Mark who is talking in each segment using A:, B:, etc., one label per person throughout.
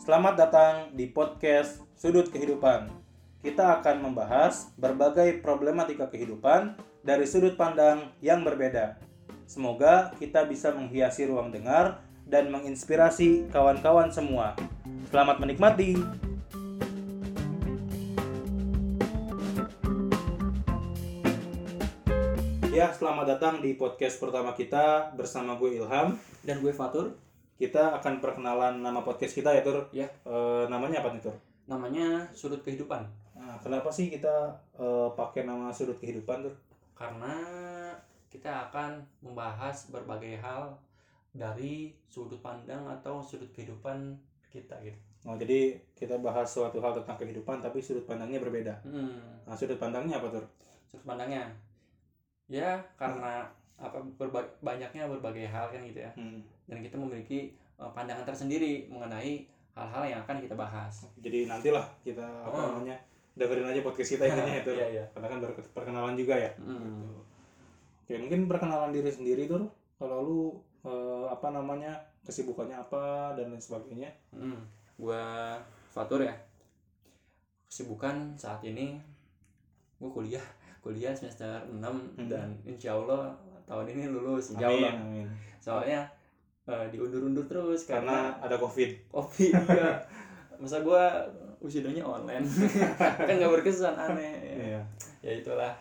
A: Selamat datang di podcast Sudut Kehidupan. Kita akan membahas berbagai problematika kehidupan dari sudut pandang yang berbeda. Semoga kita bisa menghiasi ruang dengar dan menginspirasi kawan-kawan semua. Selamat menikmati. Ya, selamat datang di podcast pertama kita bersama gue Ilham.
B: dan gue Fatur
A: Kita akan perkenalan nama podcast kita ya, Tur.
B: Ya.
A: Eh, namanya apa nih, Tur?
B: namanya sudut kehidupan
A: Nah, kenapa sih kita eh, pakai nama sudut kehidupan tuh?
B: karena kita akan membahas berbagai hal dari sudut pandang atau sudut kehidupan kita gitu
A: Oh, jadi kita bahas suatu hal tentang kehidupan tapi sudut pandangnya berbeda.
B: Hmm,
A: Nah, sudut pandangnya apa tuh?
B: sudut pandangnya ya karena apa berba- banyaknya berbagai hal kan gitu ya
A: Hmm.
B: dan kita memiliki eh, pandangan tersendiri mengenai hal-hal yang akan kita bahas
A: Jadi nantilah kita apa
B: Oh.
A: namanya dengerin aja podcast kita intinya ya Tur.
B: Iya, iya.
A: Karena kan baru perkenalan juga ya.
B: Hmm.
A: Gitu. Oke, mungkin perkenalan diri sendiri tuh. Kalau lu eh, apa namanya kesibukannya apa dan lain sebagainya.
B: Hmm, gua Fatur ya. Kesibukan saat ini gua kuliah, kuliah semester 6
A: Hmm.
B: dan insya Allah tahun ini lulus insya
A: Amin,
B: Allah.
A: amin.
B: Soalnya eh, diundur-undur terus karena,
A: Karena ada COVID.
B: kopi iya. Masa gua usidanya online. kan nggak berkesan aneh.
A: Iya.
B: Ya itulah.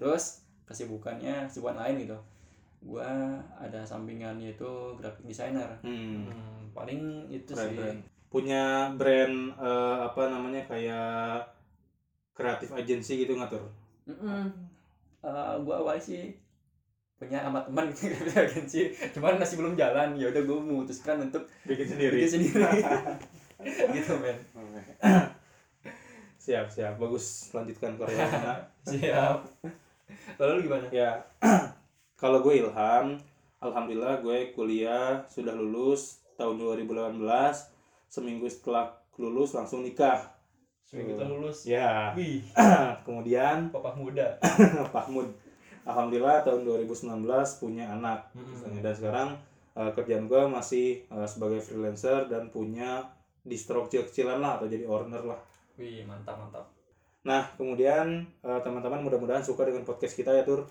B: Terus kesibukannya kesibukan lain gitu. Gua ada sampingan yaitu graphic designer.
A: Hmm.
B: Hmm, paling itu
A: Keren,
B: sih.
A: keren. punya brand eh, apa namanya kayak kreatif agency gitu ngatur
B: Mm-mm. Eh, gue awalnya sih punya sama teman gitu kan, agensi cuman masih belum jalan ya udah gue memutuskan untuk
A: bikin
B: bikin
A: sendiri
B: sendiri gitu men
A: Oke. siap siap bagus lanjutkan Korea Nah,
B: siap lalu lu gimana
A: ya kalau gue Ilham alhamdulillah gue kuliah sudah lulus tahun 2018 seminggu setelah lulus langsung nikah
B: seminggu
A: Tuh.
B: lulus
A: ya
B: wih
A: kemudian
B: papa muda
A: Pak Mud alhamdulillah tahun 2019 punya anak Misalnya. Dan sekarang eh, kerjaan gue masih eh, sebagai freelancer dan punya distro kecil-kecilan lah atau jadi owner lah.
B: wih mantap mantap
A: Nah kemudian eh, teman-teman mudah-mudahan suka dengan podcast kita ya Tur.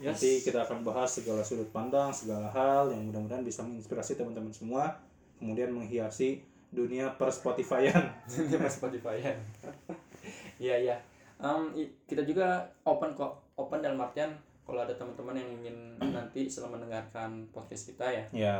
B: yes
A: Nanti kita akan bahas segala sudut pandang, segala hal yang mudah-mudahan bisa menginspirasi teman-teman semua. Kemudian menghiasi dunia per Spotify-an.
B: dia masih Spotify ya iya iya Em, i- kita juga open kok open dalam artian kalau ada teman-teman yang ingin nanti setelah mendengarkan podcast kita ya
A: Ya,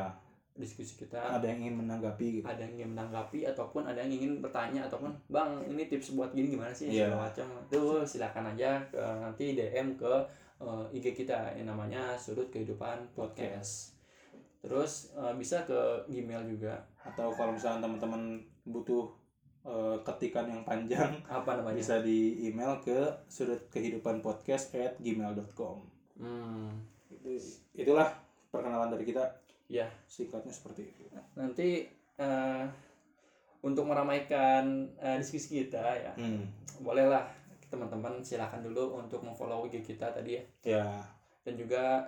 B: diskusi kita
A: ada yang ingin menanggapi gitu.
B: ada yang ingin menanggapi ataupun ada yang ingin bertanya ataupun bang ini tips buat gini gimana sih
A: Iya.
B: segala macam itu silakan aja ke, nanti DM ke eh, IG kita yang namanya sudut kehidupan podcast terus eh, bisa ke Gmail juga
A: Atau kalau misalnya teman-teman butuh eh, ketikan yang panjang,
B: apa namanya
A: bisa di email ke sudut kehidupan podcast at gmail.com
B: Hmm,
A: Itu- itulah perkenalan dari kita
B: Ya.
A: singkatnya seperti itu
B: nanti eh, untuk meramaikan eh, diskusi kita ya
A: hmm.
B: bolehlah teman-teman silakan dulu untuk memfollow IG kita tadi ya
A: ya
B: dan juga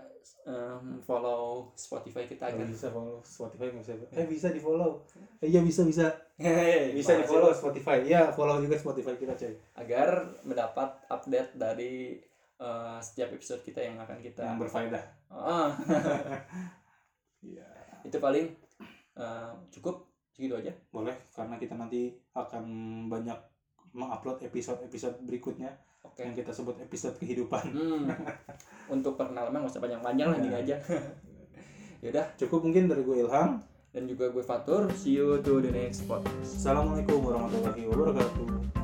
B: em, follow Spotify kita
A: nggak
B: agar
A: bisa follow Spotify nggak bisa eh bisa di follow eh, iya bisa bisa
B: Hei,
A: bisa di
B: makasih,
A: follow Spotify ya follow juga Spotify kita coy
B: agar mendapat update dari eh, setiap episode kita yang akan kita
A: yang berfaedah
B: Ah,
A: Iya.
B: itu paling eh, cukup segitu aja
A: boleh karena kita nanti akan banyak mengupload episode-episode berikutnya
B: oke
A: yang kita sebut episode kehidupan
B: Hmm. untuk perkenalan nggak usah panjang-panjang lah gini
A: Ya.
B: aja yaudah
A: cukup mungkin dari gue Ilham
B: dan juga gue Fatur see you to the next podcast
A: Assalamualaikum warahmatullahi wabarakatuh